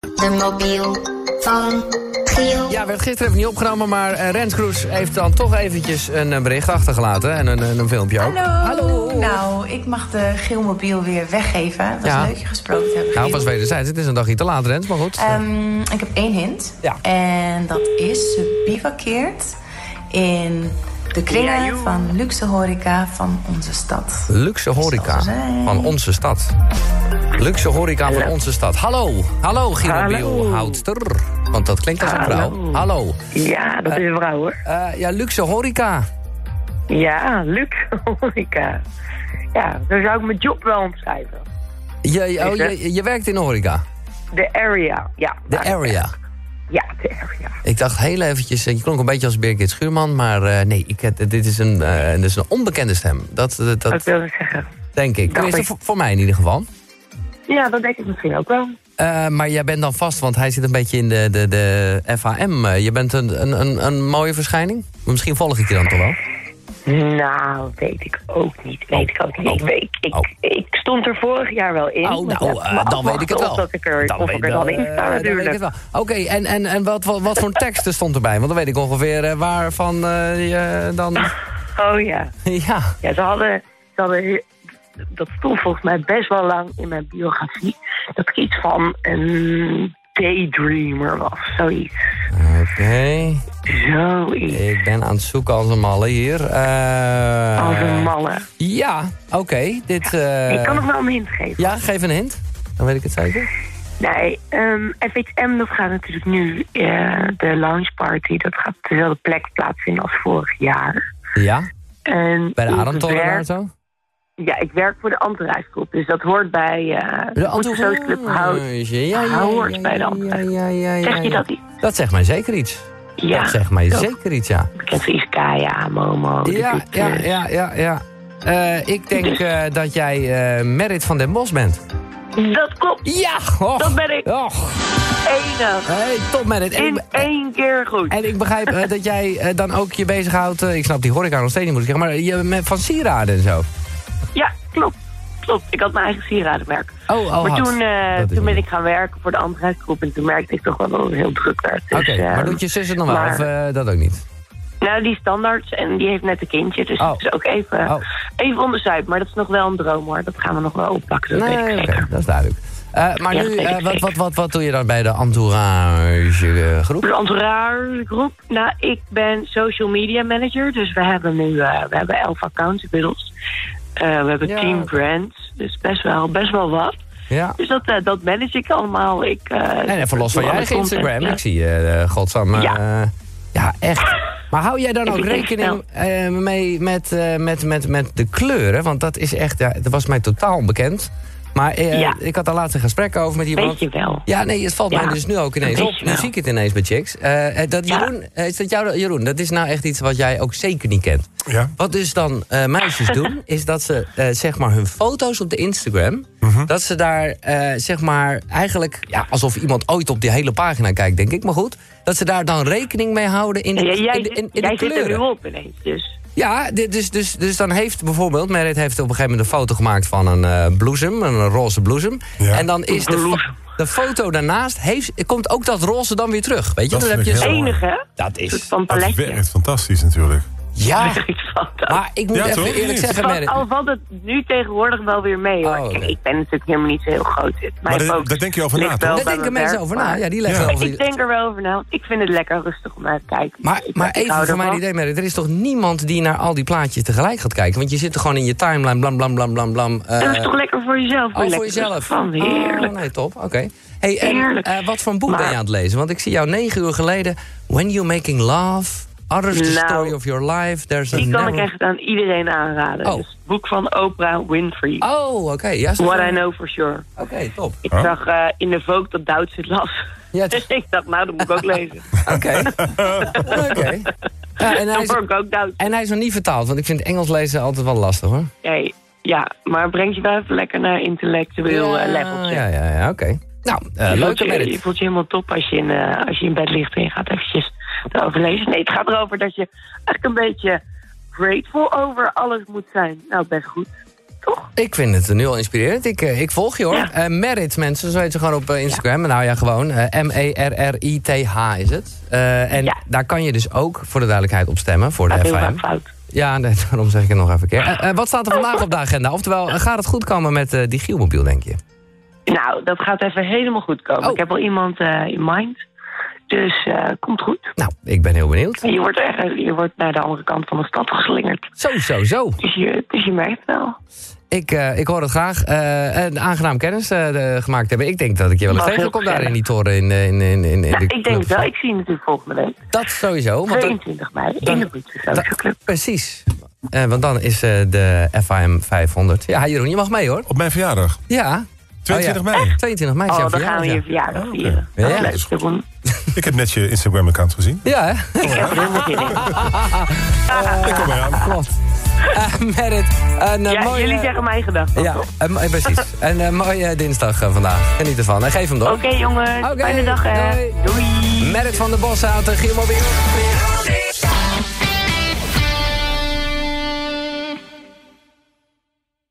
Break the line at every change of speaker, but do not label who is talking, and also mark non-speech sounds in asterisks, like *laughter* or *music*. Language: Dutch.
De mobiel van Giel.
Ja, werd gisteren even niet opgenomen, maar eh, Rens Kroes heeft dan toch eventjes een eh, bericht achtergelaten. En een, een, een filmpje ook.
Hallo. Nou, ik mag de geelmobiel weer weggeven. Het was
Ja.
leuk je gesproken te hebben.
Nou,
Giel.
pas wederzijds. Het is een dagje te laat, Rens, maar goed.
Ehm, ik heb één hint.
Ja.
En dat is, ze bivakkeert in de kringen van luxe horeca van onze stad.
Luxe horeca
Zal ze zijn.
van onze stad. Luxe horeca van onze stad. Hallo, hallo Giro Houtster. Want dat klinkt als een vrouw. Hallo.
Ja, dat is een vrouw hoor.
Eh, ja, luxe horeca.
Ja, *laughs* luxe horeca. Ja, dan zou ik mijn job wel omschrijven.
Je, je- oh, je, je werkt in de horeca.
De area, ja.
De
maar-
area.
Ja, de area.
Ik dacht heel eventjes, eh, je klonk een beetje als Birgit Schuurman, maar eh, nee, ik, eh, dit, is een, eh, dit is een onbekende stem. Dat, eh, dat, dat
Dat wilde ik zeggen.
denk ik. Tenminste,
ik.
voor, voor mij in ieder geval.
Ja, dat denk ik misschien ook wel.
Eh, maar jij bent dan vast, want hij zit een beetje in de, de, de FAM. eh, je bent een, een, een, een mooie verschijning. Misschien volg ik je dan toch wel.
Nou, weet ik ook niet. Weet ik ook niet. Ik, weet- ik,
Oh.
ik stond er vorig jaar wel in.
Oh, nou,
Maar
eh,
ja,
dan weet ik het
of
wel.
Dat ik er, of ik er dan in
eh,
sta
dan weet ik het
natuurlijk.
wel. Oké, en, en, en wat, wat, wat voor teksten stond erbij? Want dan weet ik ongeveer eh, waarvan eh, je dan... *laughs*
Oh ja.
ja,
Ja, ze hadden, ze hadden he- dat stond volgens mij best wel lang in mijn biografie. Dat ik iets van een daydreamer was, zoiets.
oké.
Zoiets.
Ik ben aan het zoeken als een malle hier. Eh,
Als een malle.
Ja, oké. Dit... eh,
Ik kan nog wel een hint geven.
Ja, geef een hint. Dan weet ik het zeker.
Nee, ehm, FHM dat gaat natuurlijk nu, eh, de lounge party, dat gaat op dezelfde plek plaatsvinden als vorig jaar.
Ja,
En
bij de
ik
Ademtoren
werk-
of zo?
Ja, ik werk voor de Antirijsgroep, dus dat hoort bij eh de Antirijsgroep Club Hout.
Antorenhuis. Ja, ja, ja,
Hoort
ja,
bij de
ja,
Antirijsgroep.
ja, ja, ja,
Zeg je
ja.
dat niet?
Dat zegt mij zeker iets.
Ja, Oh.
dat zegt mij
toch?
zeker iets, ja.
Ik heb Iskaya, Momo. die
Ja,
doet,
ja,
eh, dus.
ja, ja, ja. Eh, ik denk eh, dat jij eh, Merit van den Bos bent. Mm.
Dat klopt,
Ja! Och,
Dat ben ik.
Och,
enig.
hey, top Merit. En,
In
ik-
één keer goed.
en ik begrijp eh, dat jij eh, dan ook je bezighoudt... eh, ik snap die horeca nog steeds niet, moet ik zeggen... maar je, met, van sieraden en zo.
Ja, klopt. Klopt, ik had mijn eigen sieradenmerk.
Oh, oh,
maar
had.
toen, eh,
Dat is
toen ben
niet.
ik gaan werken voor de Antirijsgroep en toen merkte ik toch wel dat het heel druk werd. Dus,
Oké, maar
ehm,
doet je zus het nog wel?
maar-
Of eh, dat ook niet?
Nou, die standaards en die heeft net een kindje, dus
Oh.
dat is ook even,
Oh.
even onderzuip. Maar dat is nog wel een droom hoor, dat gaan we nog wel oppakken, dat weet ik
Nee, oké,
zeker.
dat is duidelijk. Eh, maar
Ja,
nu,
dat weet
eh,
ik
wat,
zeker.
wat, wat, wat doe je dan bij de entourage eh, groep?
De entourage groep. Nou, ik ben social media manager. Dus we hebben nu eh, we hebben elf accounts inmiddels. Eh, we hebben
Ja.
team brands. Dus best wel, best wel wat.
Ja.
Dus dat, eh, dat manage ik allemaal. Ik, eh,
En even los van
doe
je
alle
eigen
content,
Instagram.
ja. eh,
Ik zie je, godsam. eh,
Ja.
ja, echt. Maar hou jij dan
Ik
ook
vind het
rekening eh, mee met, eh, met, met, met de kleuren? Want dat is echt, ja, dat was mij totaal onbekend. Maar eh,
Ja.
ik had daar laatst een gesprek over met iemand.
Weet je wel.
Ja, nee, het valt
Ja,
mij dus nu ook ineens
dat
op.
weet je
Nu
wel.
zie ik het ineens bij chicks. Eh, eh, dat
Ja.
Jeroen, eh, is dat jou, Jeroen, dat is nou echt iets wat jij ook zeker niet kent.
Ja.
Wat dus dan eh, meisjes
*laughs*
doen, is dat ze eh, zeg maar hun foto's op de Instagram... dat ze daar eh, zeg maar eigenlijk... Ja, alsof iemand ooit op die hele pagina kijkt, denk ik. Maar goed, dat ze daar dan rekening mee houden in de,
En jij jij,
in de, in, in
jij
de
zit er nu
kleuren.
op ineens. Dus.
Ja, di- dus, dus, dus dan heeft bijvoorbeeld... Merit heeft op een gegeven moment een foto gemaakt van een eh, bloesem. Een roze bloesem.
Ja.
En dan is de, fo-
Bloesem.
de foto daarnaast... Heeft, komt ook dat roze dan weer terug. Weet je,
Dat
dan heb
vind
je
ik
zo-
heel mooi.
Enige. hè?
Dat
Een soort
is...
van
Dat
*laughs* paletje.
werkt fantastisch natuurlijk.
Ja, maar ik moet
Ja,
even
toch?
eerlijk zeggen,
Al,
Merit...
al valt het nu tegenwoordig wel weer mee. hoor.
Oh,
Kijk,
nee.
ik ben natuurlijk helemaal niet zo heel groot. Mijn
Maar daar-
focus
daar denk je over na,
ligt
toch?
wel
Daar
bij
denken
mijn
mensen
werk,
over na.
maar-
Ja, die leggen
Ja.
over
Ik denk er wel over na. want Ik vind het lekker rustig om naar te kijken.
Maar,
Ik-
maar
ik
even
hou
voor mij
ervan.
die idee, Merit. Er is toch niemand die naar al die plaatjes tegelijk gaat kijken? Want je zit er gewoon in je timeline, blam, blam, blam, blam, blam. eh,
Dat is toch lekker voor jezelf?
al Oh, voor
lekker
jezelf.
Van heerlijk.
Oh, nee, top. Oké. Hey, en
Heerlijk.
eh, wat voor een boek
Maar-
ben je aan het lezen? Want ik zie jou negen uur geleden. When you making love, others the
Nou,
story of your life. There's a
Die kan ik
narrow-
echt aan iedereen aanraden.
nou. Oh.
Dus het boek van Oprah Winfrey.
Oh, oké. Ja, is dat
What
zo?
I Know For Sure.
Oké, top.
Ik
Oh.
zag eh, in de Vogue dat Duits het las.
Ja,
*laughs* dus
het-
ik dacht, nou, dat
*laughs*
moet ik ook lezen.
Oké. Oké. Ja, en, hij
Dan
is,
word ik ook Duits.
en hij is nog niet vertaald, want ik vind Engels lezen altijd wel lastig hoor.
Hey, ja, maar breng je wel even lekker naar intellectueel
ja,
eh, level. zeg.
Ja, ja, ja, oké. Nou, eh,
je, voelt
leuke
je,
Merit.
je voelt je helemaal top als je in, eh, als je in bed ligt en je gaat eventjes erover lezen. Nee, het gaat erover dat je echt een beetje grateful over alles moet zijn. Nou, best goed. toch?
Ik vind het nu al inspirerend. Ik, eh, ik volg je hoor.
Ja.
Eh, Merit mensen, zo heet ze gewoon op eh, Instagram. Nou ja, gewoon eh, M-E-R-R-I-T-H is het. Eh, en
Ja.
daar kan je dus ook voor de duidelijkheid op stemmen. Voor de
Gaat heel
FIM.
vaak fout.
Ja, nee, *laughs* daarom zeg ik het nog even een keer. Eh, eh, wat staat er vandaag op de agenda? Oftewel, eh, gaat het goed komen met eh, die Gielmobiel, denk je?
Nou, dat gaat even helemaal goed komen.
Oh.
Ik heb al iemand eh, in mind. Dus eh, komt goed.
Nou, ik ben heel benieuwd.
Je wordt, echt, je wordt naar de andere kant van de stad geslingerd.
Zo, zo, zo.
Dus je, dus je merkt wel.
Ik, eh, ik hoor het graag. Eh, een aangenaam kennis eh, de- gemaakt hebben. Ik denk dat ik je wel eens
Mag heel
tegenkom daar
gezellig.
in die toren. In, eh, in, in, in, in
Nou,
de
ik denk
club.
wel. Ik zie je natuurlijk volgende week.
Dat sowieso. Want dan-
22 mei
dan-
in de Britse Social
dan-
Club.
precies. Eh, want dan is eh, de FIM 500. Ja, Jeroen, je mag mee hoor.
Op mijn verjaardag.
Ja.
22
Oh ja.
mei.
22 mei is jouw
Oh, dan gaan
verjaardag,
we
ja.
je verjaardag vieren.
Ja,
Dat
dat
is
is leuk, Jeroen.
Ik heb net je Instagram-account gezien.
Ja, hè?
Ik heb er helemaal zin in.
*laughs*
Ik kom eraan.
Klopt. Eh, Merit, een eh,
Ja,
mooie...
jullie zeggen mijn gedachten.
Ja,
toch?
een mo- eh, precies. een eh, mooie dinsdag eh, vandaag. Geniet ervan. En geef hem door.
Oké jongens,
Oké,
fijne dag hè.
doei.
Doei.
Merit van de Boshouten, Gielmobiel.